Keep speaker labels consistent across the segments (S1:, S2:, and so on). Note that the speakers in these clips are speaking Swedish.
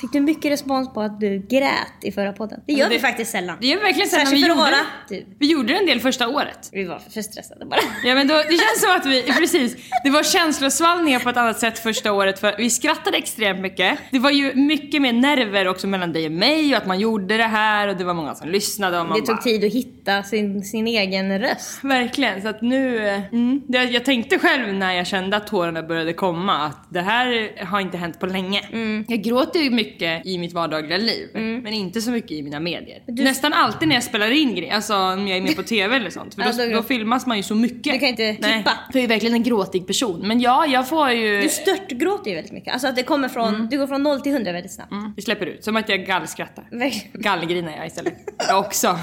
S1: Fick du mycket respons på att du grät i förra podden? Det gör
S2: Det-
S1: vi faktiskt sällan.
S2: Det gör vi verkligen sällan.
S1: Särskilt
S2: Vi
S1: för att
S2: gjorde,
S1: vara
S2: det-
S1: du.
S2: vi gjorde det en del första året.
S1: Vi var för stressade bara.
S2: Ja, men då, det känns som att vi, precis, det var känslosvallningar på ett annat sätt första året för vi skrattade extremt mycket. Det var ju mycket mer nerver också mellan dig och mig och att man gjorde det här och det var många som lyssnade och man
S1: Det tog
S2: bara,
S1: tid att hitta sin, sin egen röst.
S2: Verkligen, så att nu... eh, Mm, det, jag tänkte själv när jag kände att tårarna började komma att det här har inte hänt på länge.
S1: Mm.
S2: Jag gråter ju mycket i mitt vardagliga liv, men inte så mycket i mina medier. Nästan alltid när jag spelar in grejer, alltså om jag är med på TV eller sånt, för
S1: Ja,
S2: då,
S1: då-
S2: då filmas man ju så mycket.
S1: Du kan inte
S2: Nej,
S1: klippa.
S2: För jag är verkligen en gråtig person. Men ja, jag får ju...
S1: Du störtgråter ju väldigt mycket. Alltså att det kommer från, du går från 0 till 100 väldigt snabbt.
S2: Mm, Vi släpper ut, som att jag gallskrattar.
S1: Verkligen.
S2: Gallgrinar jag istället. Jag också.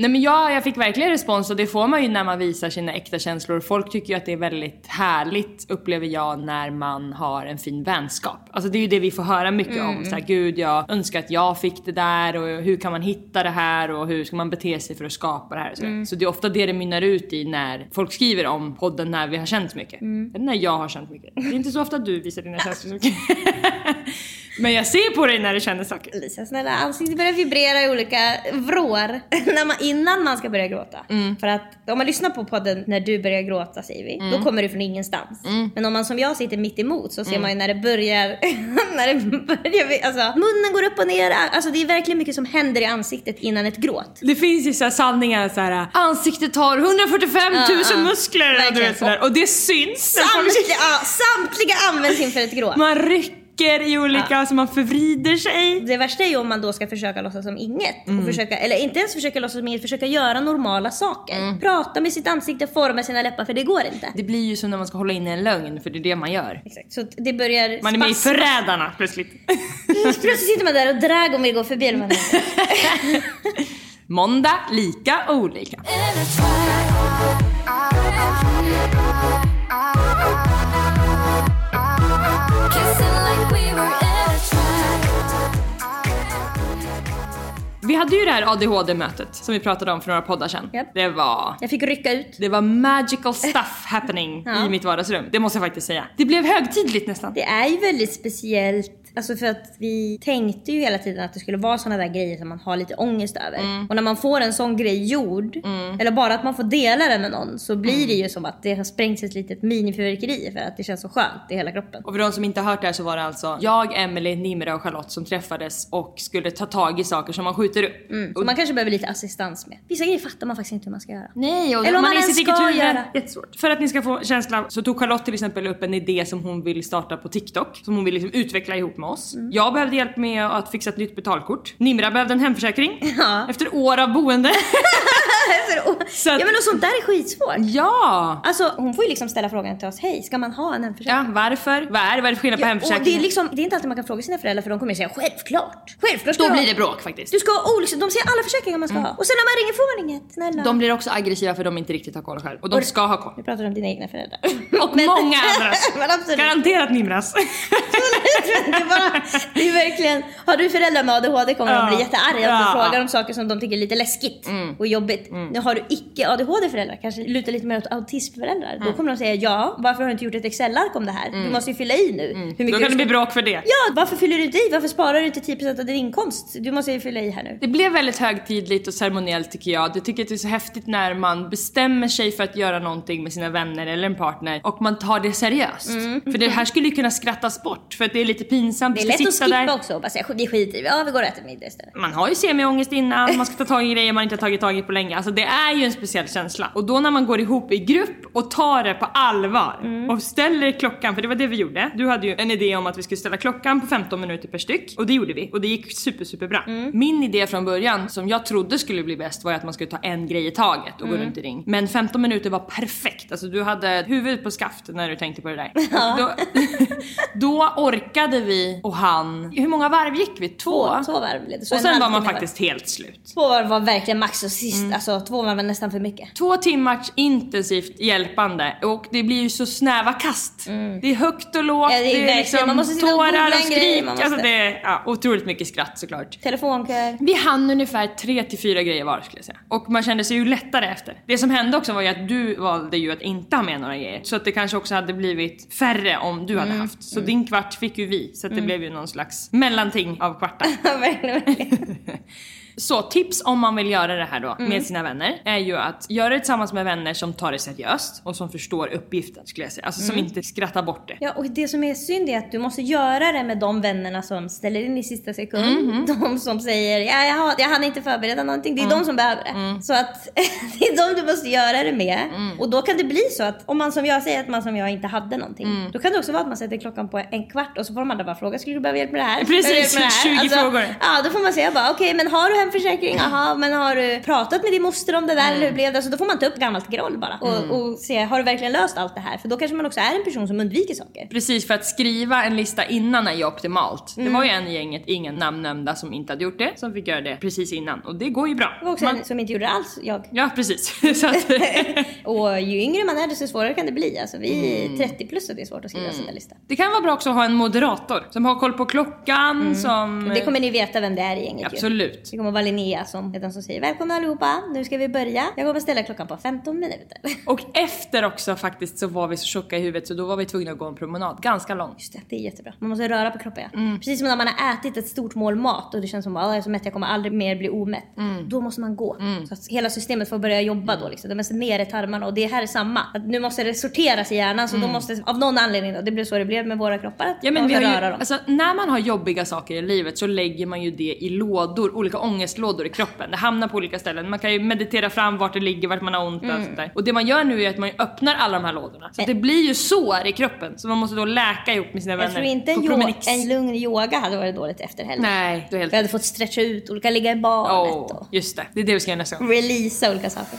S2: Nej men ja, jag fick verkligen respons och det får man ju när man visar sina äkta känslor. Folk tycker ju att det är väldigt härligt, upplever jag, när man har en fin vänskap. Alltså det är ju det vi får höra mycket om. Så här, Gud, jag önskar att jag fick det där och hur kan man hitta det här och hur ska man bete sig för att skapa det här. och Så, så det är ofta det det mynnar ut i när folk skriver om podden när vi har känt mycket. Eller när jag har känt mycket. Det är inte så ofta du visar dina känslor så mycket. Men jag ser på dig när du känner saker.
S1: Lisa snälla, ansiktet börjar vibrera i olika vrår när man, innan man ska börja gråta. För att om man lyssnar på podden när du börjar gråta säger vi, då kommer du från ingenstans. Men om man som jag sitter mitt emot så ser man ju när det börjar, när det börjar, alltså munnen går upp och ner, alltså det är verkligen mycket som händer i ansiktet innan ett gråt.
S2: Det finns ju så här sanningar så här. ansiktet har 145 000
S1: Ja, ja.
S2: muskler och, du
S1: Verkligen.
S2: vet, så där. och det syns. när folk-
S1: Samtliga, ja, samtliga används inför ett gråt.
S2: Man rycker i olika, alltså man förvrider sig.
S1: Det värsta är ju om man då ska försöka låtsas som inget. Och försöka, eller inte ens försöka låtsas som inget, försöka göra normala saker. Prata med sitt ansikte, forma sina läppar, för det går inte.
S2: Det blir ju som när man ska hålla in en lögn, för det är det man gör.
S1: Exakt. Så att det börjar
S2: Man är med i
S1: spasma.
S2: Förrädarna plötsligt.
S1: Plötsligt sitter man där och Dragomir går förbi. eller vad han heter.
S2: Måndag, lika olika. Vi hade ju det här ADHD-mötet som vi pratade om för några poddar sedan.
S1: Japp.
S2: Det var
S1: Jag fick rycka ut.
S2: det var magical stuff happening
S1: Ja.
S2: i mitt vardagsrum. Det måste jag faktiskt säga. Det blev högtidligt nästan.
S1: Det är ju väldigt speciellt. Alltså för att vi tänkte ju hela tiden att det skulle vara såna där grejer som man har lite ångest över. Och när man får en sån grej gjord, eller bara att man får dela den med någon, så blir det ju som att det har sprängts ett litet minifyrverkeri för att det känns så skönt i hela kroppen.
S2: Och för de som inte har hört det här så var det alltså jag, Emily, Nimra och Charlotte som träffades och skulle ta tag i saker som man skjuter upp.
S1: Mm. Så man kanske behöver lite assistans med. Vissa grejer fattar man faktiskt inte hur man ska göra.
S2: Nej, och
S1: Eller om man
S2: man är i
S1: ens
S2: sitt eget
S1: ska
S2: huvud.
S1: göra.
S2: Jättesvårt. För att ni ska få känslan så tog Charlotte till exempel upp en idé som hon vill starta på TikTok. Som hon vill liksom utveckla ihop med oss.
S1: Mm.
S2: Jag behövde hjälp med att fixa ett nytt betalkort. Nimra behövde en hemförsäkring.
S1: Ja.
S2: Efter år av boende.
S1: Efter, å-
S2: Så att-
S1: Ja men och sånt där är skitsvårt.
S2: Ja!
S1: Mm. Alltså hon får ju liksom ställa frågan till oss, hej ska man ha en hemförsäkring?
S2: Ja, varför? Vad är det? Vad är det för skillnad på
S1: och det, är
S2: hemförsäkringen?
S1: liksom, det är inte alltid man kan fråga sina föräldrar för de kommer ju säga självklart. Självklart ska
S2: Då
S1: jag ha-
S2: blir det bråk faktiskt.
S1: liksom- Du ska ha olycksfall. De säger alla försäkringar man ska ha. Och sen när man ringer får man inget. Snälla.
S2: De blir också aggressiva för de inte riktigt har koll själv. Och de
S1: Och-
S2: ska ha koll.
S1: Nu pratar du om dina egna föräldrar.
S2: Och många andras.
S1: men absolut.
S2: Garanterat Nimras.
S1: det, är bara, det är verkligen, har du föräldrar med ADHD kommer
S2: Ja.
S1: de bli jättearga om
S2: Ja. Mm.
S1: du frågar om saker som de tycker är lite läskigt och jobbigt. Nu har du icke ADHD föräldrar, kanske lutar lite mer åt autismföräldrar.
S2: Mm.
S1: Då kommer de säga ja, varför har du inte gjort ett Excel-ark om det här? Du måste ju fylla i nu. Hur
S2: Mm. Då
S1: mycket
S2: kan det
S1: du
S2: bli
S1: ska...
S2: bråk för det.
S1: Ja, varför fyller du inte i? Varför sparar du inte 10% av din inkomst? Du måste ju fylla i här nu.
S2: Det blev väldigt högtidligt och ceremoniellt tycker jag. Jag tycker att det är så häftigt när man bestämmer sig för att göra någonting med sina vänner eller en partner och man tar det seriöst. För det här skulle ju kunna skrattas bort för att det är lite pinsamt.
S1: Det är
S2: Vi ska
S1: lätt att
S2: sitta
S1: skippa
S2: där.
S1: också och bara säga vi skiter i det. Ja, vi går och äter middag istället.
S2: Man har ju semiångest innan, man ska ta tag i grejer man inte har tagit tag i på länge. Alltså det är ju en speciell känsla. Och då när man går ihop i grupp och tar det på allvar
S1: Mm.
S2: och ställer klockan, för det var det vi gjorde. Du hade ju en idé om att vi skulle ställa klockan på 15 minuter per styck och det gjorde vi och det gick super super bra.
S1: Mm.
S2: Min idé från början som jag trodde skulle bli bäst var ju att man skulle ta en grej i taget och
S1: Mm.
S2: gå runt i ring. Men 15 minuter var perfekt, alltså du hade huvudet på skaft när du tänkte på det där. Då, då orkade vi och han, hur många varv gick vi?
S1: Två, två varv blev det. Så
S2: Och
S1: en
S2: sen var man
S1: halvtimme
S2: faktiskt Mm. helt slut.
S1: Två varv var verkligen max och sist. Alltså två varv var nästan för mycket.
S2: Två timmars intensivt hjälpande och det blir ju så snäva kast. Det är högt och lågt,
S1: Mm. Ja, det är
S2: det är,
S1: verkligen-
S2: liksom
S1: man måste sitta och googla
S2: tårar
S1: en
S2: och
S1: grej,
S2: skrik.
S1: man måste-
S2: Alltså det är ja, otroligt mycket skratt såklart.
S1: Telefonköer.
S2: Vi hann ungefär tre till fyra grejer var skulle jag säga. Och man kände sig ju lättare efter. Det som hände också var ju att du valde ju att inte ha med några grejer. Så att det kanske också hade blivit färre om du
S1: Mm.
S2: hade haft. Så din kvart fick ju vi. Så att det blev ju någon slags mellanting av kvartar.
S1: Ja, verkligen, verkligen.
S2: Så tips om man vill göra det här då
S1: Mm.
S2: med sina vänner är ju att göra det tillsammans med vänner som tar det seriöst och som förstår uppgiften skulle jag säga. Alltså
S1: Mm.
S2: som inte skrattar bort det.
S1: Ja, och det som är synd är att du måste göra det med de vännerna som ställer in i sista sekund.
S2: Mhm.
S1: De som säger ja, jag, har, jag hann inte förbereda någonting. Det är
S2: Mm.
S1: de som behöver det. Så att det är de du måste göra det med.
S2: Mm.
S1: Och då kan det bli så att om man som jag säger att man som jag inte hade någonting.
S2: Mm.
S1: Då kan det också vara att man sätter klockan på en kvart och så får de andra bara fråga skulle du behöva hjälp med det här?
S2: Precis,
S1: Behöver du hjälp med det här?" Alltså,
S2: 20 frågor.
S1: Ja, då får man säga bara okej, men har du hemförsäkring? Jaha, men har du pratat med din moster om det
S2: Mm.
S1: där? Eller hur blev det? Så då får man ta upp gammalt groll bara och, och se, har du verkligen löst allt det här? För då kanske man också är en person som undviker saker.
S2: Precis, för att skriva en lista innan är ju optimalt.
S1: Mm.
S2: Det var ju en i gänget, ingen namnnämnda, som inte hade gjort det, som fick göra det precis innan. Och det går ju bra.
S1: Det var också
S2: Man-
S1: en som inte gjorde det alls, jag.
S2: Ja, precis. så att,
S1: Och ju yngre man är desto svårare kan det bli. Alltså vi är
S2: Mm.
S1: 30 plus och det är svårt att skriva en sån där lista.
S2: det kan vara bra också att ha en moderator som har koll på klockan, som...
S1: Mm. Det kommer ni veta vem det är i gänget ju.
S2: Absolut.
S1: Det kommer vara Linnea som är den som säger välkomna allihopa, nu ska vi börja. Jag kommer ställa klockan på 15 minuter.
S2: Och efter också faktiskt så var vi så tjocka i huvudet så då var vi tvungna att gå en promenad, ganska lång.
S1: Just det, det är jättebra. Man måste röra på kroppen. Ja.
S2: Mm.
S1: Precis som när man har ätit ett stort mål mat och det känns som att jag är så mätt, jag kommer aldrig mer bli omätt.
S2: Mm.
S1: Då måste man gå. Så att hela systemet får börja jobba då. Liksom. De måste ner i tarmarna och det här är samma. Att nu måste det sorteras i hjärnan så då måste, av någon anledning då, det blev så det blev med våra kroppar. Att
S2: Mm. Ja, men
S1: man
S2: vi har
S1: måste
S2: ju,
S1: röra dem.
S2: alltså, när man har jobbiga saker i livet så lägger man ju det i lådor, olika ångestlådor i kroppen. Det hamnar på olika ställen. Man kan ju meditera fram vart det ligger, vart man har ont och
S1: Mm.
S2: allt sånt där. Och det man gör nu är att man ju öppnar alla de här lådorna. Så
S1: Men-
S2: det blir ju sår i kroppen. Så man måste då läka ihop med sina vänner
S1: Eh. jag tror inte
S2: på
S1: en, yo-
S2: promenix.
S1: en lugn yoga hade varit dåligt efter heller.
S2: Nej, du är helt
S1: Vi hade fått stretcha ut olika, ligga i barnet
S2: Åh, just det. Det är det vi ska göra nästa gång.
S1: och releasa olika saker.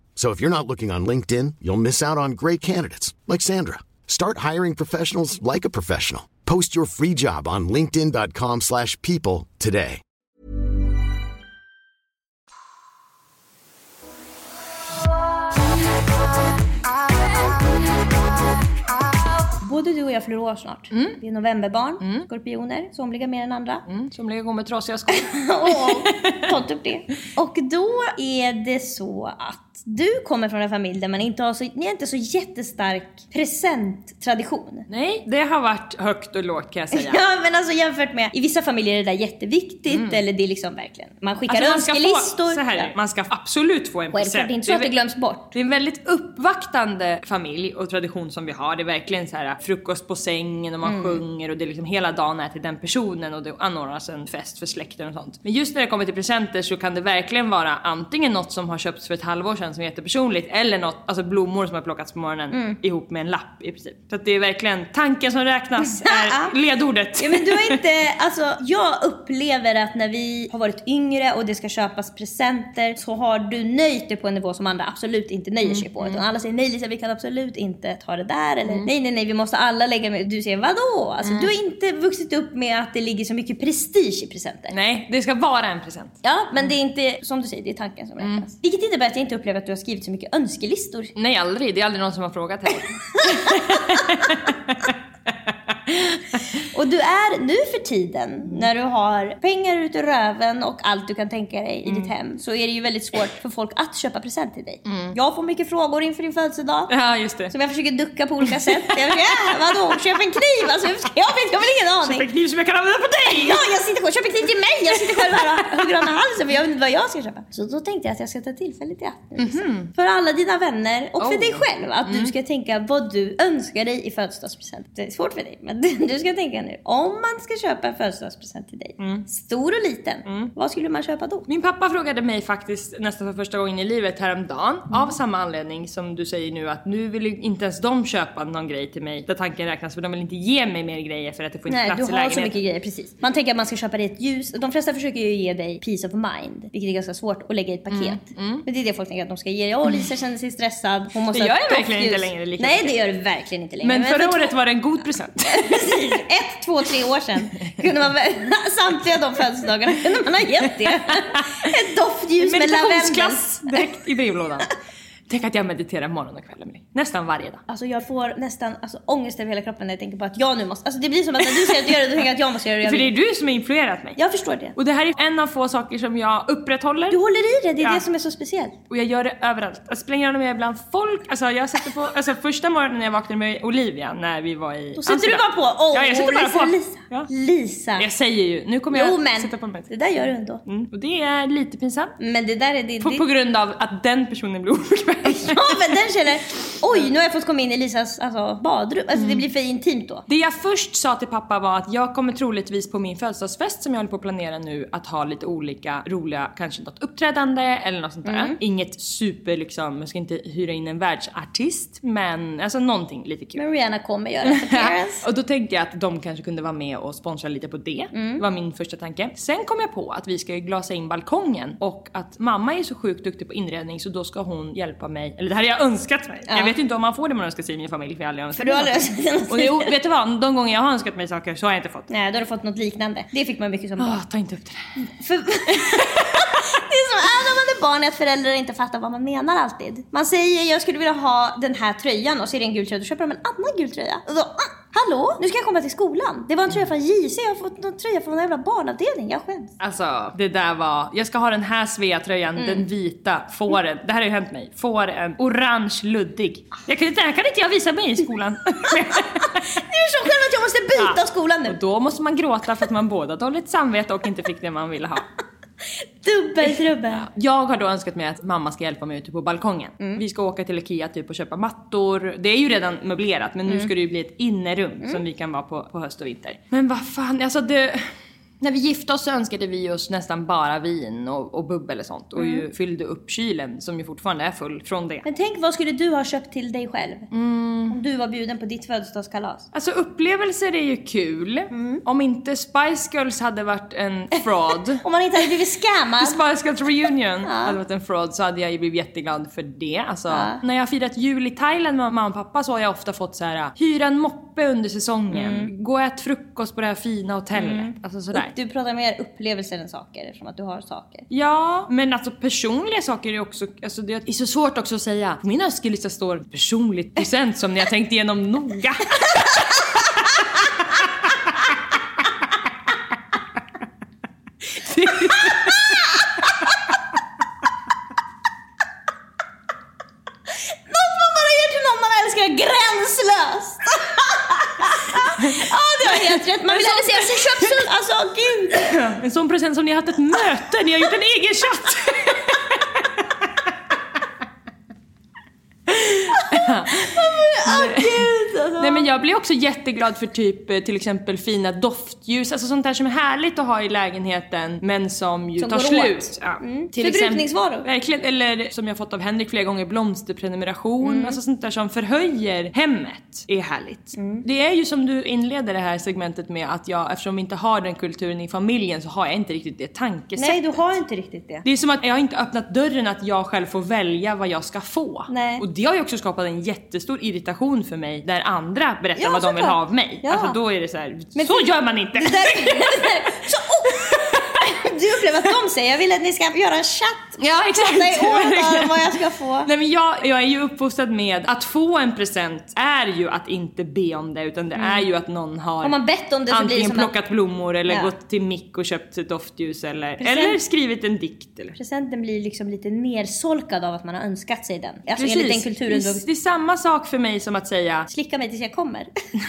S3: So if you're not looking on LinkedIn, you'll miss out on great candidates like Sandra. Start hiring professionals like a professional. Post your free job on linkedin.com/people slash people today.
S1: Både du och jag fyller år snart.
S2: Mm.
S1: Vi är novemberbarn, skorpioner, somliga mer än andra.
S2: Som ligger gå med trasiga skor.
S1: Åh, Kolla upp det. Och då är det så att du kommer från en familj där man inte har så, ni har inte så jättestark presenttradition.
S2: Nej, det har varit högt och lågt kan jag säga.
S1: Ja men alltså jämfört med, i vissa familjer är det där jätteviktigt eller det är liksom verkligen, man skickar
S2: Mm. Alltså, man ska få,
S1: önskelistor.
S2: så här, man ska absolut få en
S1: Självklart,
S2: present.
S1: det är inte så att det glöms bort.
S2: Det är en väldigt uppvaktande familj och tradition som vi har. Det är verkligen så här frukost på sängen och man
S1: Mm.
S2: sjunger och det är liksom hela dagen är till den personen och det anordnas en fest för släkten och sånt. Men just när det kommer till presenter så kan det verkligen vara antingen något som har köpts för ett halvår sedan som är jättepersonligt eller något, alltså blommor som har plockats på morgonen
S1: Mm.
S2: ihop med en lapp i princip. Så att det är verkligen tanken som räknas är ledordet.
S1: Ja, men du har inte, alltså, jag upplever att när vi har varit yngre och det ska köpas presenter så har du nöjt dig på en nivå som andra absolut inte nöjer sig på. Utan alla säger nej Lisa vi kan absolut inte ta det där eller nej nej nej vi måste alla lägga med. Du säger vadå? Alltså, Du har inte vuxit upp med att det ligger så mycket prestige i presenter.
S2: Nej, det ska vara en present.
S1: Ja men det är inte, som du säger, det är tanken som räknas. Vilket innebär att jag inte upplever att du har skrivit så mycket önskelistor.
S2: Nej, aldrig. Det är aldrig någon som har frågat heller.
S1: Och du är nu för tiden, när du har pengar ut ur röven och allt du kan tänka dig i ditt hem, så är det ju väldigt svårt för folk att köpa present till dig. Jag får mycket frågor inför din födelsedag.
S2: Ja, just det.
S1: Som jag försöker ducka på olika sätt. Jag försöker, äh, vadå, köp en kniv! Alltså, hur ska jag vet, jag har väl ingen
S2: En
S1: aning.
S2: kniv som jag kan använda på dig!
S1: Ja, jag sitter själv, köp en kniv till mig! Jag sitter själv här och hugger honom i halsen för jag vet inte vad jag ska köpa. Så då tänkte jag att jag ska ta tillfället i akt nu, liksom. För alla dina vänner och för
S2: Oh.
S1: dig själv. Att du ska tänka vad du önskar dig i födelsedagspresent. Det är svårt för dig, men du ska tänka nu. Om man ska köpa en födelsedagspresent till dig, stor och liten, vad skulle man köpa då?
S2: Min pappa frågade mig faktiskt nästan för första gången i livet häromdagen
S1: Mm.
S2: av samma anledning som du säger nu att nu vill ju inte ens de köpa någon grej till mig där tanken räknas för de vill inte ge mig mer grejer för att det får inte
S1: Nej, du
S2: plats i
S1: har så
S2: lägenheten.
S1: mycket grejer, precis. Man tänker att man ska köpa dig ett ljus. De flesta försöker ju ge dig peace of mind, vilket är ganska svårt att lägga i ett
S2: Mm,
S1: paket. Men det är det folk tänker att de ska ge dig. Åh, Lisa känner sig stressad. Hon måste
S2: Det
S1: ha
S2: gör
S1: ett
S2: jag verkligen
S1: doftljus.
S2: inte längre lika
S1: Nej, det
S2: mycket.
S1: gör du verkligen inte längre.
S2: Men
S1: för
S2: förra
S1: två-
S2: året var det en god
S1: Typ
S2: present.
S1: Precis, ett, två, tre år sedan kunde man väl, samtliga de födelsedagarna kunde man ha gett det. Ett doftljus med lavendel.
S2: Meditationsklass direkt i brevlådan. Tänk att jag mediterar morgon och kväll Emelie. Nästan varje dag.
S1: Alltså jag får nästan alltså, ångest över hela kroppen när jag tänker på att jag nu måste, alltså det blir som att när du säger att du gör det, då tänker jag att jag måste göra det. Jag,
S2: För det
S1: vill.
S2: är du som har influerat mig.
S1: jag förstår det.
S2: Och det här är en av få saker som jag upprätthåller.
S1: Du håller i det, det är
S2: Ja.
S1: det som är så speciellt.
S2: Och jag gör det överallt. Alltså, det spelar ingen roll om jag är bland folk. Alltså, jag sätter på, alltså, första morgonen när jag vaknade med Olivia när vi var i
S1: Då sätter du bara på. Åh,
S2: ja, jag sätter bara
S1: Lisa,
S2: på.
S1: Lisa.
S2: Ja.
S1: Lisa.
S2: Jag säger ju, nu kommer jag
S1: Jo men,
S2: sätta på mig.
S1: det där gör du ändå.
S2: Mm. Och det är lite pinsamt.
S1: Men det där är det.
S2: På,
S1: det-
S2: på grund av att den personen blir obekväm.
S1: Ja men den känner, oj nu har jag fått komma in i Lisas alltså, badrum. Alltså
S2: Mm.
S1: det blir för intimt då.
S2: Det jag först sa till pappa var att jag kommer troligtvis på min födelsedagsfest som jag håller på att planera nu att ha lite olika roliga, kanske något uppträdande eller något sånt där.
S1: Mm.
S2: Inget super liksom, jag ska inte hyra in en världsartist men alltså någonting lite kul.
S1: Men Rihanna kommer göra en appearance.
S2: Och då tänkte jag att de kanske kunde vara med och sponsra lite på det. var min första tanke. Sen kom jag på att vi ska ju glasa in balkongen och att mamma är så sjukt duktig på inredning så då ska hon hjälpa mig. Eller det här har jag önskat mig. Jag vet inte om man får det man önskar sig i min familj för jag har aldrig önskat
S1: du har
S2: mig
S1: aldrig
S2: något.
S1: önskat dig
S2: Och
S1: något.
S2: jo, vet du vad? De gånger jag har önskat mig saker så har jag inte fått.
S1: Nej då har du fått något liknande. Det fick man mycket som barn.
S2: Ah, ta inte upp det där.
S1: För... det är som äh, när man är barn är att föräldrar inte fattar vad man menar alltid. Man säger jag skulle vilja ha den här tröjan och så är det en gul tröja. Då köper de en annan gul tröja. Och då, ah, hallå? Nu ska jag komma till skolan. Det var en tröja från JC. Jag har fått en tröja från en jävla barnavdelning. Jag skäms.
S2: Alltså det där var, jag ska ha den här Svea-tröjan, den vita, får en, det här har ju hänt mig, får en orange luddig. Jag kan, det här kan inte jag visa mig i skolan.
S1: Det är som själv att jag måste byta
S2: Ja.
S1: skolan
S2: Och
S1: nu.
S2: då måste man gråta för att man båda dåligt samvete och inte fick det man ville ha.
S1: Dubbeltrubbel.
S2: Jag har då önskat mig att mamma ska hjälpa mig ute på balkongen. Vi ska åka till IKEA typ och köpa mattor. Det är ju redan Mm. möblerat men nu ska det ju bli ett innerum som vi kan vara på, på höst och vinter. Men vad fan, alltså det... När vi gifte oss så önskade vi oss nästan bara vin och, och bubbel och sånt. Och ju fyllde upp kylen, som ju fortfarande är full, från det.
S1: Men tänk vad skulle du ha köpt till dig själv?
S2: Mm.
S1: Om du var bjuden på ditt födelsedagskalas.
S2: Alltså upplevelser är ju kul. Om inte Spice Girls hade varit en fraud.
S1: Om man inte hade blivit scammad.
S2: Spice Girls reunion hade varit en fraud så hade jag ju blivit jätteglad för det. Alltså, När jag har firat jul i Thailand med mamma och pappa så har jag ofta fått så här: äh, hyra en moppe under säsongen, gå och ät frukost på det här fina hotellet. Alltså sådär.
S1: Du pratar mer upplevelser än saker eftersom att du har saker.
S2: Ja, men alltså personliga saker är också, alltså det är så svårt också att säga. På min önskelista står personligt present som ni har tänkt igenom noga.
S1: Något man bara gör till någon man älskar gränslöst! Ja, du har helt rätt. Man vill aldrig säga så köp så... Alltså gud.
S2: En sån present som ni har haft ett möte, ni har gjort en egen chatt.
S1: Gud alltså.
S2: Nej men jag blir också jätteglad för typ eh, till exempel fina doftljus, alltså sånt där som är härligt att ha i lägenheten men som ju
S1: Som
S2: tar
S1: går
S2: slut.
S1: åt.
S2: Ja.
S1: Mm.
S2: Till exempel-
S1: Förbrukningsvaror.
S2: Verkligen, eller som jag fått av Henrik flera gånger, blomsterprenumeration.
S1: Mm.
S2: Alltså sånt där som förhöjer hemmet är härligt.
S1: Mm.
S2: Det är ju som du inleder det här segmentet med att jag, eftersom vi inte har den kulturen i familjen så har jag inte riktigt det tankesättet.
S1: Nej, du har inte riktigt det.
S2: Det är som att jag har inte öppnat dörren att jag själv får välja vad jag ska få.
S1: Nej.
S2: Och det har ju också skapat en jättestor irritation för mig där andra berättar
S1: Ja,
S2: vad de vill
S1: såklart.
S2: ha av mig.
S1: Ja.
S2: Alltså då är det så här,
S1: Men
S2: så
S1: det-
S2: gör man inte!
S1: Det där- det där- så, oh. Du upplever att de säger jag vill att ni ska göra en chatt.
S2: Ja exakt!
S1: Nej, året
S2: Verkligen.
S1: av eh, vad jag ska få.
S2: Nej men jag, jag är ju uppfostrad med att få en present är ju att inte be om det utan det är ju att någon har
S1: Har man bett Mm. om det så blir det
S2: antingen
S1: som att
S2: plockat blommor eller
S1: Ja.
S2: gått till mick och köpt ett doftljus eller,
S1: Present.
S2: eller skrivit en dikt. Eller.
S1: presenten blir liksom lite nersolkad av att man har önskat sig den. Alltså
S2: Precis.
S1: enligt den kulturen du har
S2: Det är samma sak för mig som att säga
S1: Slicka mig tills jag kommer.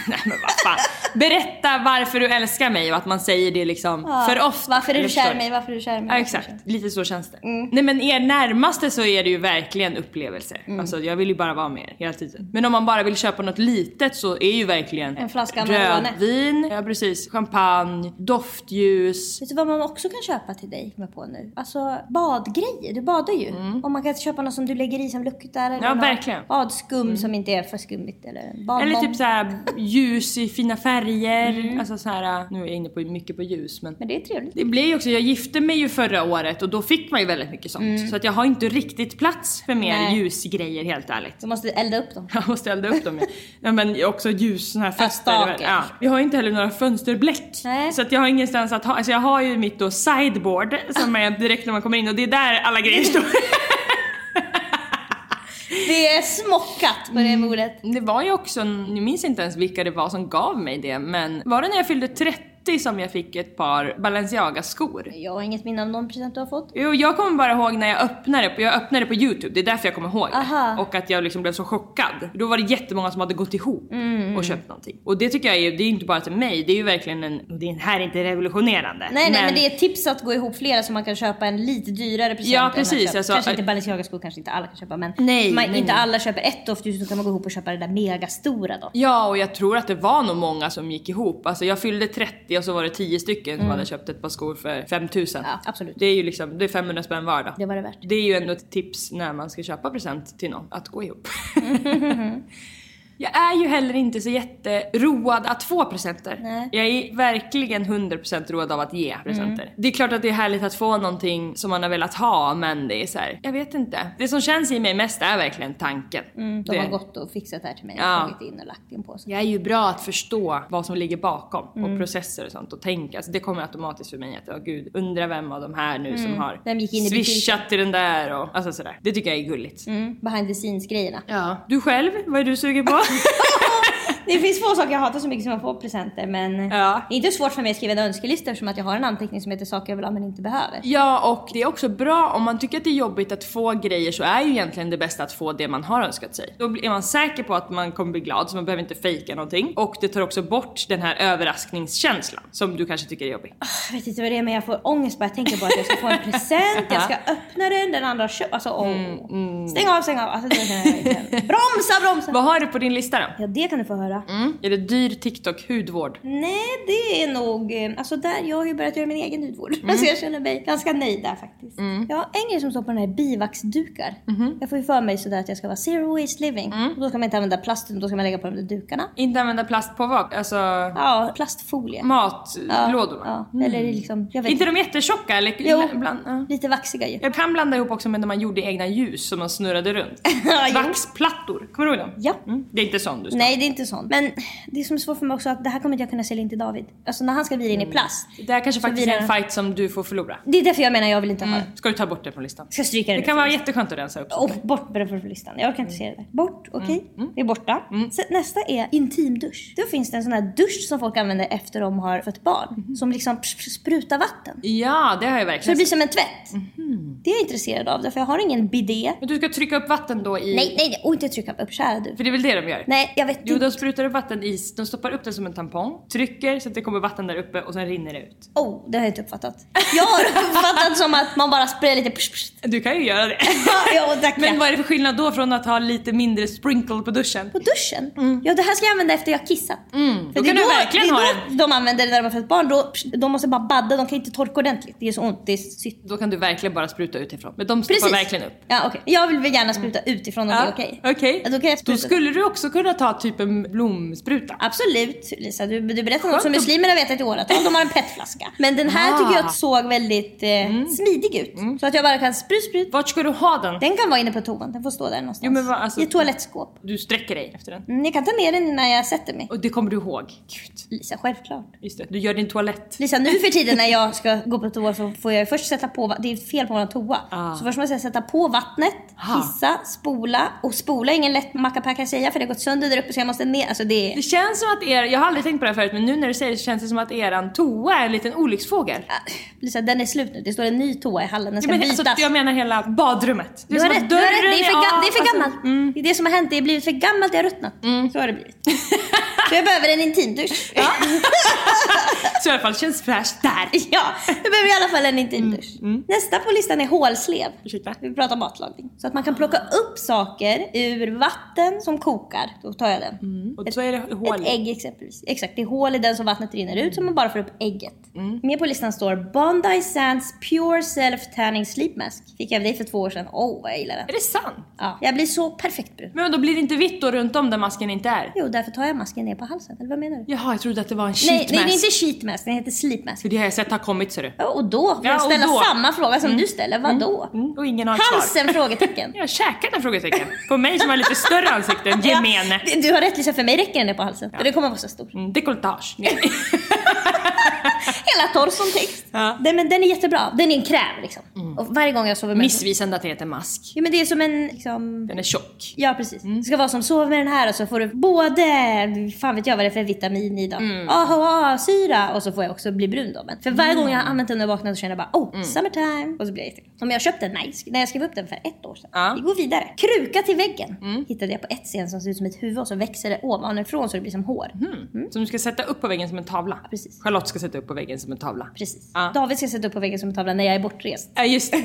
S2: Nej men vad fan. Berätta varför du älskar mig och att man säger det liksom
S1: Ja.
S2: för ofta.
S1: Varför är
S2: Eller
S1: du
S2: förstår
S1: kär i mig? Varför är du kär i mig? Varför
S2: Ja
S1: är du
S2: exakt,
S1: kär i mig?
S2: lite så känns det.
S1: Mm.
S2: Nej men er närmaste så är det ju verkligen upplevelser.
S1: Mm.
S2: Alltså jag vill ju bara vara med er hela tiden. Men om man bara vill köpa något litet så är ju verkligen
S1: En flaska Amarone.
S2: rödvin, ja precis, champagne, doftljus.
S1: Vet du vad man också kan köpa till dig? Kommer jag på nu. Alltså badgrejer. Du badar ju. Och man kan köpa något som du lägger i som luktar. Eller
S2: Mm. Ja,
S1: något
S2: verkgen.
S1: Badskum som inte är för skummigt. Eller en badbomb.
S2: Eller typ såhär ljus i fina färger.
S1: Mm.
S2: Alltså såhär, nu är jag inne på mycket på ljus men
S1: Men det är trevligt.
S2: Det blir ju också, jag gifte mig ju förra året och då fick man ju väldigt mycket sånt. Så att jag har inte riktigt plats för mer
S1: Mm. Nej.
S2: ljusgrejer helt ärligt.
S1: Du måste elda upp dem.
S2: Jag måste elda upp dem ja. ja. Men också ljus, såna här fönster.
S1: staken.
S2: Ja. Vi har ju inte heller några fönsterbläck.
S1: Nej.
S2: Så att jag har ingenstans att ha, alltså jag har ju mitt då sideboard som är direkt när man kommer in och det är där alla grejer står.
S1: Det är smockat på
S2: Mm.
S1: det bordet.
S2: Det var ju också, nu minns inte ens vilka det var som gav mig det men var det när jag fyllde 30 som jag fick ett par Balenciaga-skor?
S1: Jag har inget minne av någon present du har fått.
S2: Jo, jag kommer bara ihåg när jag öppnade det, på- jag öppnade det på youtube, det är därför jag kommer ihåg det.
S1: Aha.
S2: Och att jag liksom blev så chockad. Då var det jättemånga som hade gått ihop
S1: Mm.
S2: och köpt någonting. Och det tycker jag är, det är inte bara till mig, det är ju verkligen en, och det är- här är inte revolutionerande.
S1: Nej, nej, men det är ett tips att gå ihop flera så man kan köpa en lite dyrare present.
S2: Ja,
S1: än man
S2: precis,
S1: köper.
S2: alltså-
S1: kanske inte Balenciaga-skor, kanske inte alla kan köpa. Men
S2: Nej,
S1: man,
S2: nej,
S1: inte
S2: nej.
S1: alla köper ett doftljus, då kan man gå ihop och köpa det där megastora då.
S2: Ja, och jag tror att det var nog många som gick ihop. Alltså jag fyllde 30 och så var det 10 stycken som hade köpt ett par skor för 5000.
S1: Mm. Ja, absolut.
S2: Det är ju liksom, det är 500 spänn var då.
S1: Det var det värt.
S2: Det är ju ändå ett tips när man ska köpa present till någon, att gå ihop. Jag är ju heller inte så jätteroad att få presenter.
S1: Nej.
S2: Jag är verkligen 100% road av att ge presenter.
S1: Mm.
S2: Det är klart att det är härligt att få någonting som man har velat ha men det är så här, jag vet inte. Det som känns i mig mest är verkligen tanken.
S1: Mm, De
S2: det.
S1: har gått och fixat det här till mig och
S2: Ja.
S1: tagit in och lagt i en påse.
S2: Jag är ju bra att förstå vad som ligger bakom
S1: Mm.
S2: och processer och sånt och tänka. Alltså det kommer automatiskt för mig att, ja gud, undra vem av de här nu som har
S1: Mm. Vem gick in i butiken?
S2: swishat till den där och alltså sådär. Det tycker jag är gulligt.
S1: Mm, behind the scenes-grejerna.
S2: Ja. Du själv, vad är du sugen på?
S1: Det finns få saker jag hatar så mycket som att få presenter men
S2: Ja.
S1: det är inte svårt för mig att skriva en önskelista eftersom att jag har en anteckning som heter saker jag vill ha men inte behöver.
S2: ja, och det är också bra om man tycker att det är jobbigt att få grejer så är ju egentligen det bästa att få det man har önskat sig. Då är man säker på att man kommer bli glad så man behöver inte fejka någonting och det tar också bort den här överraskningskänslan som du kanske tycker är jobbig.
S1: Jag vet inte vad det är men jag får ångest bara jag tänker på att jag ska få en present, jag ska öppna den, den andra köper. Alltså åh.
S2: Mm,
S1: Stäng av, stäng av. Alltså, det känner jag verkligen. bromsa, bromsa!
S2: Vad har du på din lista då?
S1: Ja det kan du få höra göra.
S2: Är det dyr TikTok-hudvård?
S1: Nej, det är nog... eh, Alltså där, jag har ju börjat göra min egen hudvård.
S2: Mm.
S1: Så jag känner mig ganska nöjd där faktiskt. Jag har en grej som står på den här bivaxdukar.
S2: Mm-hmm.
S1: Jag får ju för mig sådär att jag ska vara zero waste living.
S2: Mm.
S1: Och då ska man inte använda plast, utan då ska man lägga på de där dukarna.
S2: Inte använda plast på vad? Alltså
S1: Ja, plastfolie.
S2: matlådorna?
S1: Ja, eller liksom... Jag vet
S2: Mm. Inte de jättetjocka? Eller,
S1: Jo.
S2: Bland, ja.
S1: Lite vaxiga ju.
S2: Jag kan blanda ihop också med när man gjorde egna ljus som man snurrade runt.
S1: Ja, jo.
S2: Vaxplattor, kommer du ihåg dem?
S1: Ja.
S2: Mm. Det är inte sån du ska.
S1: Nej, det är inte sånt. Men det som är svårt för mig också är att det här kommer inte jag kunna sälja in till David. Alltså när han ska vira in i
S2: Mm.
S1: plast.
S2: Det här kanske
S1: Så
S2: faktiskt
S1: vi
S2: är en
S1: redan-
S2: fight som du får förlora.
S1: Det är därför jag menar jag vill inte ha det.
S2: Ska du ta bort det från listan?
S1: Ska stryka det
S2: Det
S1: nu.
S2: kan vara jätteskönt att rensa upp.
S1: Och bort med det från listan. Jag orkar inte se det där. Bort, okej.
S2: Mm,
S1: Det är borta. Sen, nästa är intimdusch. Då finns det en sån här dusch som folk använder efter de har fött barn. Som liksom pss, pss, sprutar vatten.
S2: Mm-hmm. Ja, Mm-hmm. det har jag
S1: Så det
S2: verkligen
S1: blir
S2: sett.
S1: som en tvätt. Det är jag intresserad av därför jag har ingen bidé.
S2: Men du ska trycka upp vatten då i...
S1: Nej, nej, nej. Och inte trycka upp. Kära du.
S2: För det är väl det de gör?
S1: Nej, jag vet
S2: Jo,
S1: inte.
S2: de sprutar upp vatten i... De stoppar upp den som en tampong, trycker så att det kommer vatten där uppe och sen rinner det ut.
S1: Oh, det har jag inte uppfattat. Jag har uppfattat som att man bara sprayar lite. Pss, pss.
S2: Du kan ju göra det.
S1: Ja, tack,
S2: Men
S1: ja.
S2: vad är det för skillnad då från att ha lite mindre sprinkle på duschen?
S1: På duschen? Ja, det här ska jag använda efter jag har kissat. För
S2: Mm. då
S1: det är
S2: kan du verkligen
S1: det är
S2: ha
S1: då De använder det när de har fött barn. Då, de måste bara badda, de kan inte torka ordentligt. Det är så ont, det är sytt.
S2: Då kan du verkligen bara spruta utifrån. Men de stoppar verkligen upp. Mm.
S1: Ja, okej. Jag vill väl gärna spruta utifrån om det är okej.
S2: okej.
S1: Ja, då kan jag
S2: Då
S1: spruta.
S2: skulle du också kunna ta typ en blomspruta.
S1: Absolut Lisa, du, du berättar något
S2: Skönt
S1: som
S2: att-
S1: muslimer har vetat i åratal. De har en petflaska. Men den här
S2: Ah. Mm.
S1: tycker jag såg väldigt eh, smidig ut. Så att jag bara kan sprut, sprut.
S2: Vart ska du ha den?
S1: Den kan vara inne på toan, den får stå där någonstans.
S2: Jo, men vad, alltså-
S1: I ett toalettskåp.
S2: Du sträcker dig efter den.
S1: Mm, jag kan ta ner den innan jag sätter mig.
S2: Och det kommer du ihåg. Gud.
S1: Lisa, självklart.
S2: Just det, du gör din toalett.
S1: Lisa, nu för tiden när jag ska gå på toa så får jag först sätta på, va- det är fel på våran toa.
S2: Ah.
S1: Så först måste jag sätta på vattnet,
S2: Ah.
S1: kissa, spola. Och spola är ingen lätt mackapackaseja för det har gått sönder där uppe så jag måste ner. Alltså det
S2: Det
S1: är...
S2: känns som att er, jag har aldrig tänkt på det här förut men nu när du säger det så känns det som att eran toa är en liten olycksfågel.
S1: Ah, Lisa, den är slut nu. Det står en ny toa i hallen, den
S2: Ja,
S1: ska
S2: men,
S1: bytas.
S2: alltså, jag menar hela badrummet. Det
S1: du
S2: är
S1: har
S2: som att
S1: rätt, du har rätt. Det är för,
S2: dörren
S1: ga-
S2: av,
S1: det är för
S2: alltså- Mm.
S1: gammalt. Det är det som har hänt, det har blivit för gammalt, det har ruttnat. Så har det blivit. så jag behöver en intimdusch. Ja.
S2: Så i alla fall känns fräscht där.
S1: jag behöver i alla fall en intimdusch. Nästa på listan är hålslev.
S2: Mm, Ursäkta?
S1: Vi pratar matlagning. Så att man kan plocka upp saker ur vatten som kokar. Då tar jag den.
S2: Och så är det Mm. hål.
S1: Ett ägg exempelvis. Exakt, det är hål i den som vattnet rinner ut så man bara får upp ägget.
S2: Mm.
S1: Med på listan står Bondi Sands Pure Self Tanning Sleep Mask. Fick jag av dig för två år sedan. Åh, vad jag gillar den.
S2: Är det sant?
S1: Ja. Jag blir så perfekt brun.
S2: Men då blir det inte vitt då runt om där masken inte är?
S1: Jo, därför tar jag masken ner på halsen. Eller vad menar du?
S2: Jaha, jag trodde att det var en sheet
S1: Nej, nej, det är
S2: mask.
S1: inte sheet mask. Den heter sleep mask.
S2: För det har jag sett har kommit ser du.
S1: Ja, Och då vill
S2: Ja,
S1: jag
S2: och
S1: ställa
S2: då.
S1: samma fråga som du ställer. Vadå?
S2: Mm, och ingen har ett svar.
S1: Halsen? Frågetecken.
S2: Jag käkade en frågetecken. På mig som har lite större ansikte än gemene.
S1: Ja, du har rätt Lisa, för mig räcker den där på halsen. För det kommer vara så stor.
S2: Mm, Dekolletage. Nej.
S1: Hela torr som text.
S2: Ja. Mm.
S1: Den, men den är jättebra. Den är en kräm liksom. Och varje gång jag sover med
S2: Missvisande att det heter mask.
S1: Ja men det är som en liksom...
S2: Den är tjock.
S1: Ja precis.
S2: Mm.
S1: Det ska vara som sov med den här och så får du både, fan vet jag vad det är för vitamin i då.
S2: Mm.
S1: AHA-syra och så får jag också bli brun då. Men för varje gång jag har använt den och vaknat så känner jag bara oh,
S2: Mm.
S1: summertime. Och så blir jag jätteglad. Som jag köpte, nice. När jag skrev upp den för ett år sedan.
S2: Ja. Mm.
S1: Vi går vidare. Kruka till väggen. Hittade jag på ett scen som ser ut som ett huvud och så växer det ovanifrån så det blir som hår.
S2: Som du ska sätta upp på väggen som en tavla.
S1: Precis.
S2: Charlotte ska sätta upp på väggen som en tavla.
S1: Precis.
S2: Ja.
S1: David ska sätta upp på väggen som en tavla när jag är bortrest.
S2: Ja, just det.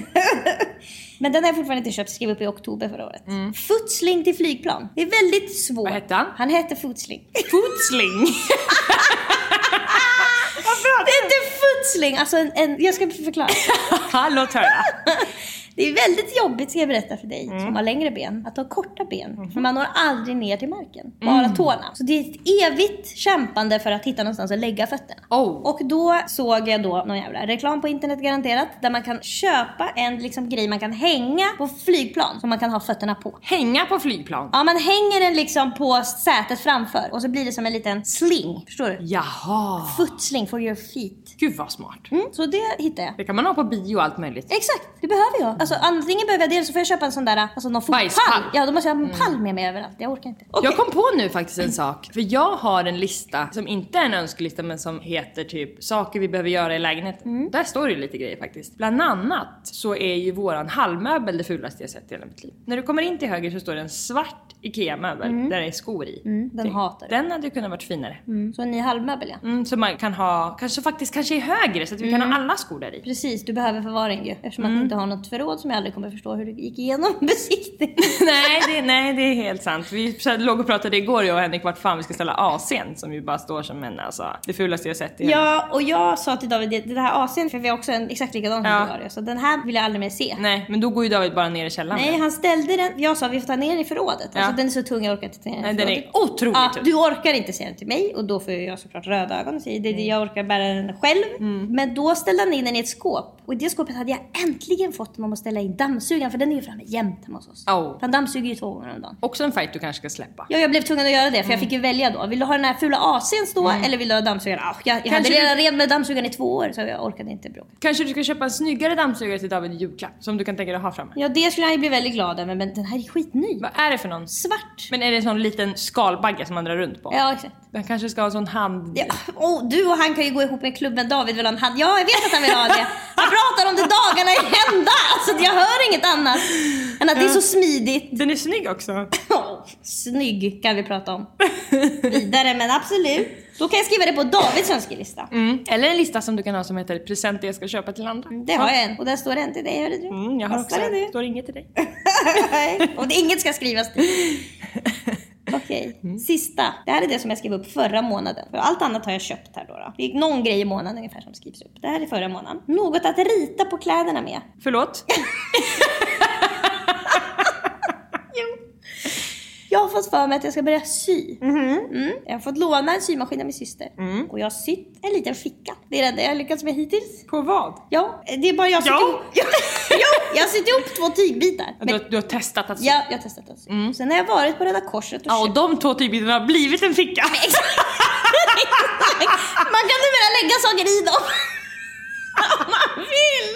S1: Men den har jag fortfarande inte köpt, skrev upp i oktober förra året. Footsling till flygplan. Det är väldigt svårt.
S2: Mm. Vad hette han?
S1: Han hette Footsling.
S2: Footsling.
S1: Det är inte footsling, alltså en, en, jag ska förklara.
S2: Ja, Låt höra.
S1: Det är väldigt jobbigt ska jag berätta för dig som har längre ben, att ha korta ben. För man når aldrig ner till marken, bara tårna. Så det är ett evigt kämpande för att hitta någonstans att lägga fötterna.
S2: Oh.
S1: Och då såg jag då någon jävla reklam på internet garanterat, där man kan köpa en liksom, grej man kan hänga på flygplan som man kan ha fötterna på.
S2: Hänga på flygplan.
S1: Ja, man hänger den liksom på sätet framför och så blir det som en liten sling. Förstår du?
S2: Jaha.
S1: Footsling for your feet.
S2: Gud vad smart.
S1: Mm, så det hittade jag.
S2: Det kan man ha på bio och allt möjligt.
S1: Exakt, det behöver jag. Alltså, antingen behöver jag det eller så får jag köpa en sån där, alltså någon fotpall.
S2: Bajspall. Mm.
S1: Ja, då måste jag ha en pall med mig överallt. Jag orkar inte. Okej.
S2: Jag kom på nu faktiskt en sak. För jag har en lista som inte är en önskelista men som heter typ saker vi behöver göra i lägenheten.
S1: Mm.
S2: Där står det ju lite grejer faktiskt. Bland annat så är ju våran hallmöbel det fulaste jag sett i hela mitt liv. När du kommer in till höger så står det en svart IKEA-möbel där det är skor i.
S1: den
S2: Det-
S1: Mm. hatar du.
S2: Den hade ju kunnat varit finare.
S1: Mm. Så en ny halvmöbel ja.
S2: Mm, så man kan ha, kanske faktiskt kanske är högre så att vi
S1: Mm.
S2: kan ha alla skor där i.
S1: Precis, du behöver förvaring ju. Eftersom
S2: Mm.
S1: att du inte har något förråd som jag aldrig kommer förstå hur du gick igenom besiktning.
S2: nej, det, nej, det är helt sant. Vi pr- låg och pratade igår jag och Henrik vart fan vi ska ställa AC'n som ju bara står som en, alltså det fulaste jag sett i hela
S1: ja, och jag sa till David det, det här AC'n, för vi har också en exakt likadan som
S2: Ja.
S1: du har ju, Så den här vill jag aldrig mer se.
S2: Nej, men då går ju David bara ner i källaren.
S1: Nej, han ställde den. Jag sa vi får ta ner den i förrådet.
S2: Ja.
S1: Alltså den är så tung jag orkar inte ta ner den i
S2: Nej, den är
S1: förrådet.
S2: otroligt
S1: Ja,
S2: tung.
S1: du orkar inte säga den till mig och då får ju jag såklart röda ögon och säger
S2: Mm.
S1: det, det jag orkar bära den själv. Men då ställde han in den i ett skåp och i det skåpet hade jag äntligen fått honom att ställa in dammsugaren för den är ju framme jämt hemma hos oss.
S2: Oh.
S1: Han dammsuger ju två gånger om dagen.
S2: Också en fight du kanske ska släppa.
S1: Ja, jag blev tvungen att göra det för
S2: Mm.
S1: jag fick ju välja då. Vill du ha den här fula AC'n stå eller vill du ha dammsugaren? Ah, jag jag hade
S2: Kanske
S1: redan ren med dammsugaren i två år så jag orkade inte bråka.
S2: Kanske du ska köpa en snyggare dammsugare till David i julklapp som du kan tänka dig att ha framme.
S1: Ja, det skulle han ju bli väldigt glad över men den här är skitny.
S2: Vad är det för någon?
S1: Svart.
S2: Men är det en sån liten skalbagge som man drar runt på?
S1: Ja, exakt.
S2: Den kanske ska ha en sån hand...
S1: Ja, oh, du och han kan ju gå ihop i klubben. David vill ha en hand. Ja, jag vet att han vill ha det. Han pratar om det dagarna i ända. Alltså, jag hör inget annat än att det är så smidigt.
S2: Den är snygg också.
S1: Oh, snygg kan vi prata om. Vidare, men absolut. Då kan jag skriva det på Davids önskelista.
S2: Mm. Eller en lista som du kan ha som heter presenter jag ska köpa till andra.
S1: Det har jag en. Och där står det en till dig. Hörde du?
S2: Mm, jag har också
S1: Passar det
S2: det.
S1: nu?
S2: Står inget till dig.
S1: Nej, Och det, inget ska skrivas dit. Okej,
S2: Mm.
S1: sista. Det här är det som jag skrev upp förra månaden. För allt annat har jag köpt här då. då. Det är någon grej i månaden ungefär som skrivs upp. Det här är förra månaden. Något att rita på kläderna med.
S2: Förlåt?
S1: Jag har fått för mig att jag ska börja sy.
S2: Mm-hmm.
S1: Mm. Jag har fått låna en symaskin av min syster.
S2: Mm.
S1: Och jag har sytt en liten ficka. Det är det enda jag har lyckats med hittills.
S2: På vad?
S1: Ja, det är bara jag som
S2: Ja.
S1: ihop. jo, jag har sytt ihop två tygbitar.
S2: Du, har- du har testat att...
S1: ja, jag har testat att sy. Sen har jag varit på Röda Korset och
S2: Ja,
S1: köpt
S2: och de två tygbitarna har blivit en ficka.
S1: Man kan numera lägga saker i dem. Om man vill.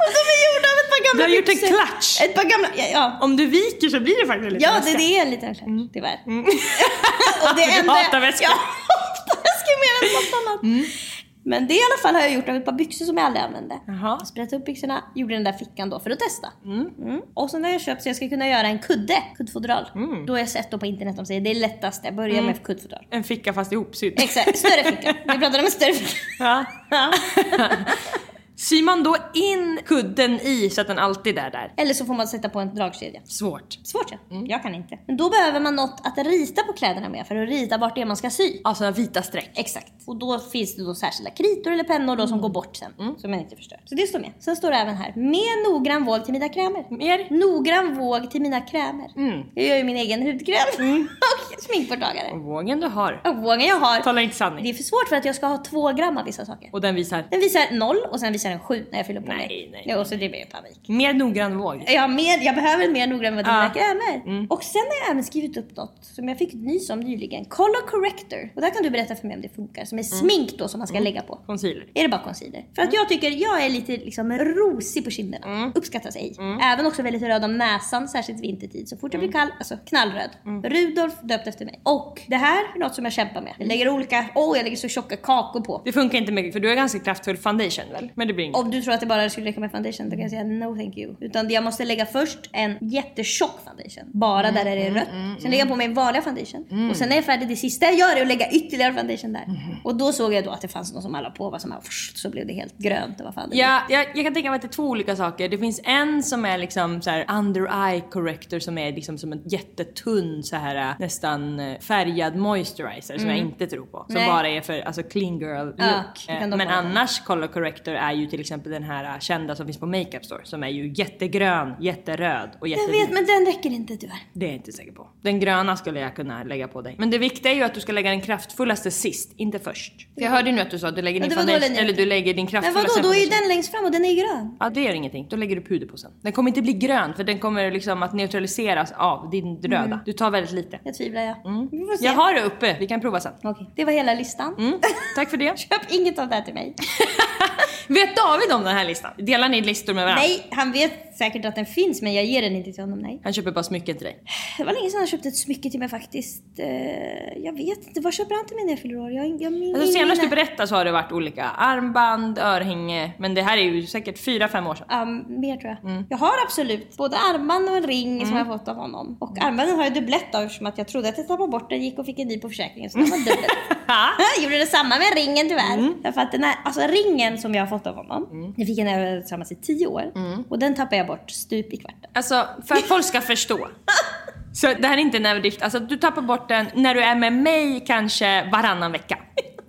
S1: Och de är gjorda av ett par gamla
S2: Du har gjort en
S1: byxor.
S2: klatsch.
S1: Ett par gamla, ja. ja.
S2: Om du viker så blir det faktiskt en liten
S1: Ja, det,
S2: väska.
S1: det är en liten klätt, tyvärr. och det enda,
S2: Mm. hatar väskor. Mm.
S1: Jag hatar väskor mer än något annat. Men det i alla fall har jag gjort av ett par byxor som jag aldrig använde.
S2: Jaha.
S1: Sprätt upp byxorna, gjorde den där fickan då för att testa. Mm. Och sen har jag köpt så jag ska kunna göra en kudde, kuddfodral.
S2: Mm.
S1: Då har jag sett då på internet, de säger det är lättaste, börja med kuddfodral.
S2: En ficka fast ihopsydd.
S1: Exakt, större ficka. Vi pratade om en större ficka.
S2: Ja.
S1: Ja.
S2: Syr man då in kudden i så att den alltid är där?
S1: Eller så får man sätta på en dragkedja.
S2: Svårt.
S1: Svårt ja.
S2: Mm.
S1: Jag kan inte. Men då behöver man något att rita på kläderna med för att rita vart det är man ska sy.
S2: Ja, såna Alltså vita streck.
S1: Exakt. Och då finns det då särskilda kritor eller pennor då som
S2: Mm.
S1: går bort sen. Som man inte förstör. Så det står med. Sen står det även här. Med noggrann våg till mina krämer.
S2: Mer? Mm.
S1: Noggrann våg till mina krämer. Jag gör ju min egen hudkräm. och sminkborttagare.
S2: Vågen du har.
S1: Och vågen jag har.
S2: Mm. Tala inte sanning.
S1: Det är för svårt för att jag ska ha två gram av vissa saker.
S2: Och den visar
S1: Den visar noll och sen visar den sju när jag fyller på
S2: Nej,
S1: mig.
S2: nej,
S1: Jo, så det blir panik.
S2: mer noggrann våg.
S1: Jag, har mer, jag behöver mer noggrann med dina
S2: Ja.
S1: krämer.
S2: Mm.
S1: Och sen har jag även skrivit upp något som jag fick nys om nyligen. Color corrector. Och där kan du berätta för mig om det funkar. Som är
S2: Mm.
S1: smink då som man ska lägga på.
S2: Concealer.
S1: Är det bara concealer? För
S2: Mm.
S1: att jag tycker jag är lite liksom rosig på kinderna. Uppskattas ej.
S2: Mm.
S1: Även också väldigt röd om näsan, särskilt vintertid. Så fort jag blir kall, alltså knallröd.
S2: Mm.
S1: Rudolf döpt efter mig. Och det här är något som jag kämpar med. Jag lägger olika, åh jag lägger så tjocka kakor på.
S2: Det funkar inte mycket för du har ganska kraftfull foundation väl? Men det blir inget.
S1: Om du tror att det bara skulle räcka med foundation, då kan jag säga no thank you. Utan jag måste lägga först en jättetjock foundation. Bara där
S2: Mm,
S1: det är rött. sen lägger jag på min vanliga foundation. Och sen när jag är färdig, det sista jag gör är att lägga ytterligare foundation där.
S2: Mm.
S1: Och då såg jag då att det fanns någon som alla på var som bara, först, så blev det helt grönt. Och vad fan det
S2: Ja, jag, jag kan tänka mig att det är två olika saker. Det finns en som är liksom så här under eye corrector som är liksom som en jättetunn så här nästan eh, färgad moisturizer som jag inte tror på. Som
S1: Mm. Nej.
S2: bara är för alltså clean girl look.
S1: Ja, det
S2: Eh,
S1: kan de
S2: Men
S1: ha.
S2: annars color corrector är ju till exempel den här eh, kända som finns på makeup store som är ju jättegrön, jätteröd och
S1: blir.
S2: jättevit.
S1: Jag vet, men den räcker inte tyvärr.
S2: Det är jag inte säker på. Den gröna skulle jag kunna lägga på dig. Men det viktiga är ju att du ska lägga den kraftfullaste sist, inte först. För jag hörde ju nu att du sa att du lägger
S1: Ja,
S2: din
S1: det var då
S2: foundation,
S1: den-
S2: eller du lägger din
S1: Men
S2: kraftfullaste
S1: vadå, då är ju
S2: foundation.
S1: den längst fram och den är grön.
S2: Ja det gör ingenting, då lägger du puder på sen. Den kommer inte bli grön för den kommer liksom att neutraliseras av din röda. Du tar väldigt lite.
S1: Jag tvivlar jag.
S2: Mm.
S1: Vi får se.
S2: Jag har det uppe, vi kan prova sen.
S1: Okej, det var hela listan.
S2: Mm. Tack för det.
S1: Köp inget av det här till mig.
S2: Vet David om den här listan? Delar ni listor med varandra?
S1: Nej, han vet säkert att den finns men jag ger den inte till honom, nej.
S2: Han köper bara smycken till dig.
S1: Det var länge sedan han köpte ett smycke till mig faktiskt. Eh, jag vet inte, vad köper han till mig när jag fyller år? Jag, jag min,
S2: Alltså, senast du
S1: mina-
S2: berättade så har det varit olika armband, örhänge, men det här är ju säkert fyra fem år sedan.
S1: Ja, mer tror jag.
S2: Mm.
S1: Jag har absolut både armband och en ring som jag har fått av honom. Och armbanden har jag dubblett av eftersom att jag trodde att jag tappade bort den, gick och fick en ny på försäkringen. Så den var dubbel. jag gjorde detsamma med ringen tyvärr.
S2: Mm.
S1: Därför att den här, alltså ringen som jag har fått av honom, den fick jag när jag var tillsammans i tio år.
S2: Mm.
S1: Och den tappade jag bort stup i kvarten.
S2: Alltså för att folk ska förstå. Så det här är inte en överdrift. Alltså du tappar bort den när du är med mig kanske varannan vecka.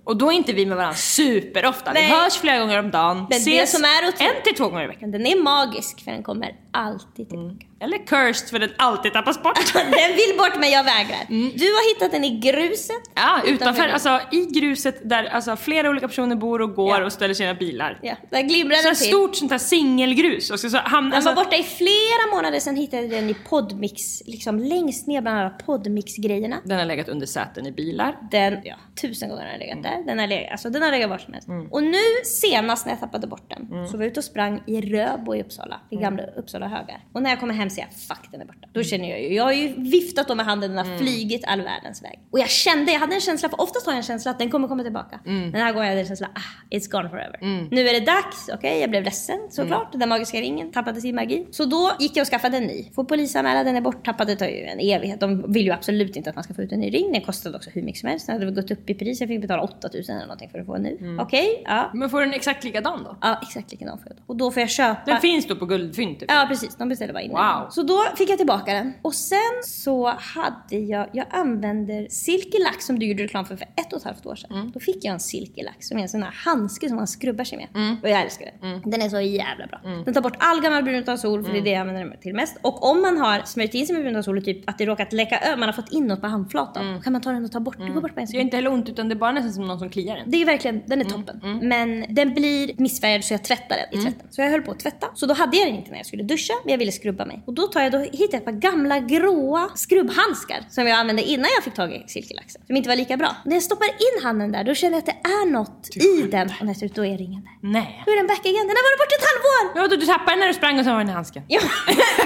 S2: Och då är inte vi med varandra superofta. Vi
S1: Nej.
S2: hörs flera gånger om dagen.
S1: det som är otro-
S2: en till två gånger i veckan.
S1: Men den är magisk för den kommer
S2: Mm.
S1: alltid tillbaka.
S2: Eller cursed för den alltid tappas bort.
S1: Den vill bort men jag vägrar. Du har hittat den i gruset.
S2: Mm. Ja, utanför,
S1: Utanför.
S2: alltså i gruset där alltså, flera olika personer bor och går
S1: Ja.
S2: och ställer sina bilar.
S1: Ja, där glimrar
S2: Så
S1: den
S2: ett
S1: till.
S2: stort sånt här singelgrus. Och så, så hamn,
S1: Den
S2: alltså,
S1: var borta i flera månader, sen hittade jag den i Podmix, liksom längst ner bland alla Podmix-grejerna.
S2: den har legat under säten i bilar.
S1: Den, ja, tusen gånger har den legat
S2: Mm.
S1: där. Den har legat, alltså den har legat var som helst. Och nu senast när jag tappade bort den
S2: Mm.
S1: så var jag ute och sprang i Röbo i Uppsala, i gamla Uppsala högar. Och när jag kommer hem ser jag, fuck den är borta.
S2: Mm.
S1: Då känner jag ju, jag har ju viftat dem med handen, den har flygit all världens väg. Och jag kände, jag hade en känsla, för oftast har jag en känsla att den kommer komma tillbaka. Men den här gången hade jag en känsla, ah, it's gone forever. Nu är det dags, okej jag blev ledsen såklart. Den magiska ringen tappade sin magi. Så då gick jag och skaffade en ny. Får polisanmäla, den är borttappad, det tar ju en evighet. De vill ju absolut inte att man ska få ut en ny ring. Den kostade också hur mycket som helst. Den hade väl gått upp i pris, jag fick betala 8000 eller någonting för att få en ny. Okej, ja.
S2: Men får den exakt likadan då?
S1: Ja, exakt likadan får jag då. Och då får jag köpa...
S2: Den finns då på guldfynd typ.
S1: Ja precis, de beställde bara in den.
S2: Wow.
S1: Så då fick jag tillbaka den. Och sen så hade jag, jag använder silkelack som du gjorde reklam för för ett och ett halvt år sedan.
S2: Mm.
S1: Då fick jag en silkelack som är en sån här handske som man skrubbar sig med.
S2: Mm.
S1: Och jag älskar den. Den är så jävla bra. Den tar bort all gammal brunutansol för
S2: Mm.
S1: det är det jag använder den till mest. Och om man har smörjt in sig med brunutansol och typ att det råkat läcka över, man har fått in något på handflatan. Då kan man ta den och ta bort, det går bort på en
S2: Mm. Det gör
S1: sekund.
S2: inte heller ont utan det är bara nästan som någon som kliar en.
S1: Det är verkligen, den är toppen. Men den blir missfärgad så jag tvättar den i tvätten. Så jag höll på att tvätta. Så då hade jag den inte när jag skulle duscha, men jag ville skrubba mig. Och då, tar jag, då hittade jag ett par gamla gråa skrubbhandskar som jag använde innan jag fick tag i silkelaxen. Som inte var lika bra. När jag stoppar in handen där, då känner jag att det är något i den. Och när jag ser ut, då är ringen där.
S2: Nej.
S1: Då är den back igen. Den har varit borta ett halvår!
S2: Men vadå, du tappade den när du sprang och så var den i handsken?
S1: Ja,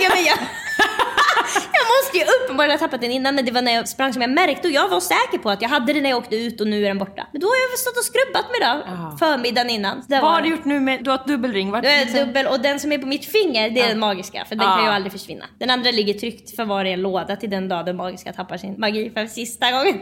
S1: ja men jag... Jag måste ju uppenbarligen ha tappat den innan men det var när jag sprang som jag märkte och jag var säker på att jag hade den när jag åkte ut och nu är den borta. Men då har jag väl stått och skrubbat mig då förmiddagen innan. Så där
S2: Vad har
S1: var
S2: du
S1: den.
S2: gjort nu med, du har ett dubbelring? Vart,
S1: Då är jag dubbel och den som är på mitt finger det är den magiska för den
S2: Ja.
S1: kan ju aldrig försvinna. Den andra ligger tryckt förvar i en låda till den dag den magiska tappar sin magi för sista gången.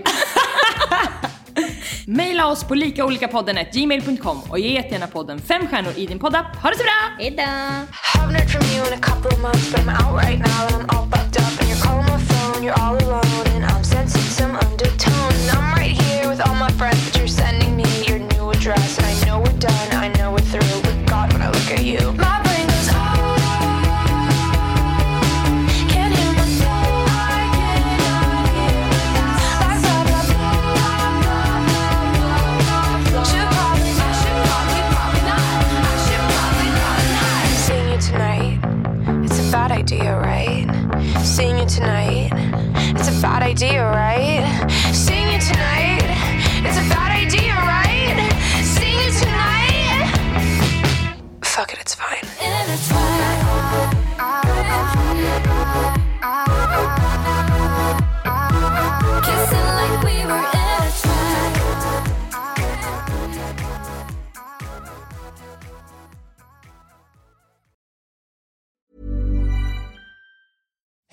S2: Maila oss på likaolikapodden gmail.com och ge jättegärna podden fem stjärnor i din poddapp. Ha det så bra!
S1: Hejdå!
S4: Haven't heard from you in a couple of months, but I'm out right now and I'm all fucked up. And you're calling my phone, you're all alone, and I'm sensing some undertone. And I'm right here with all my friends, but you're sending me your new address. And I know we're done, I know we're through. But God, when I look at you, my brain goes oh. Can't hear myself, I cannot hear myself. Like, blah, blah, should probably, I should probably, probably not. I should probably, probably not. Seeing you tonight, it's a bad idea, right? Seeing you tonight, it's a bad idea, right? Seeing you tonight, it's a bad idea, right? Seeing you tonight, fuck it, it's fine. And it's fine. Kissing like we were in a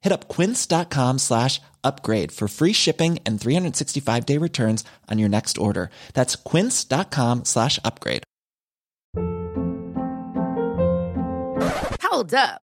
S5: Hit up quince.com slash upgrade for free shipping and 365 day returns on your next order. That's quince.com slash upgrade.
S6: Hold up.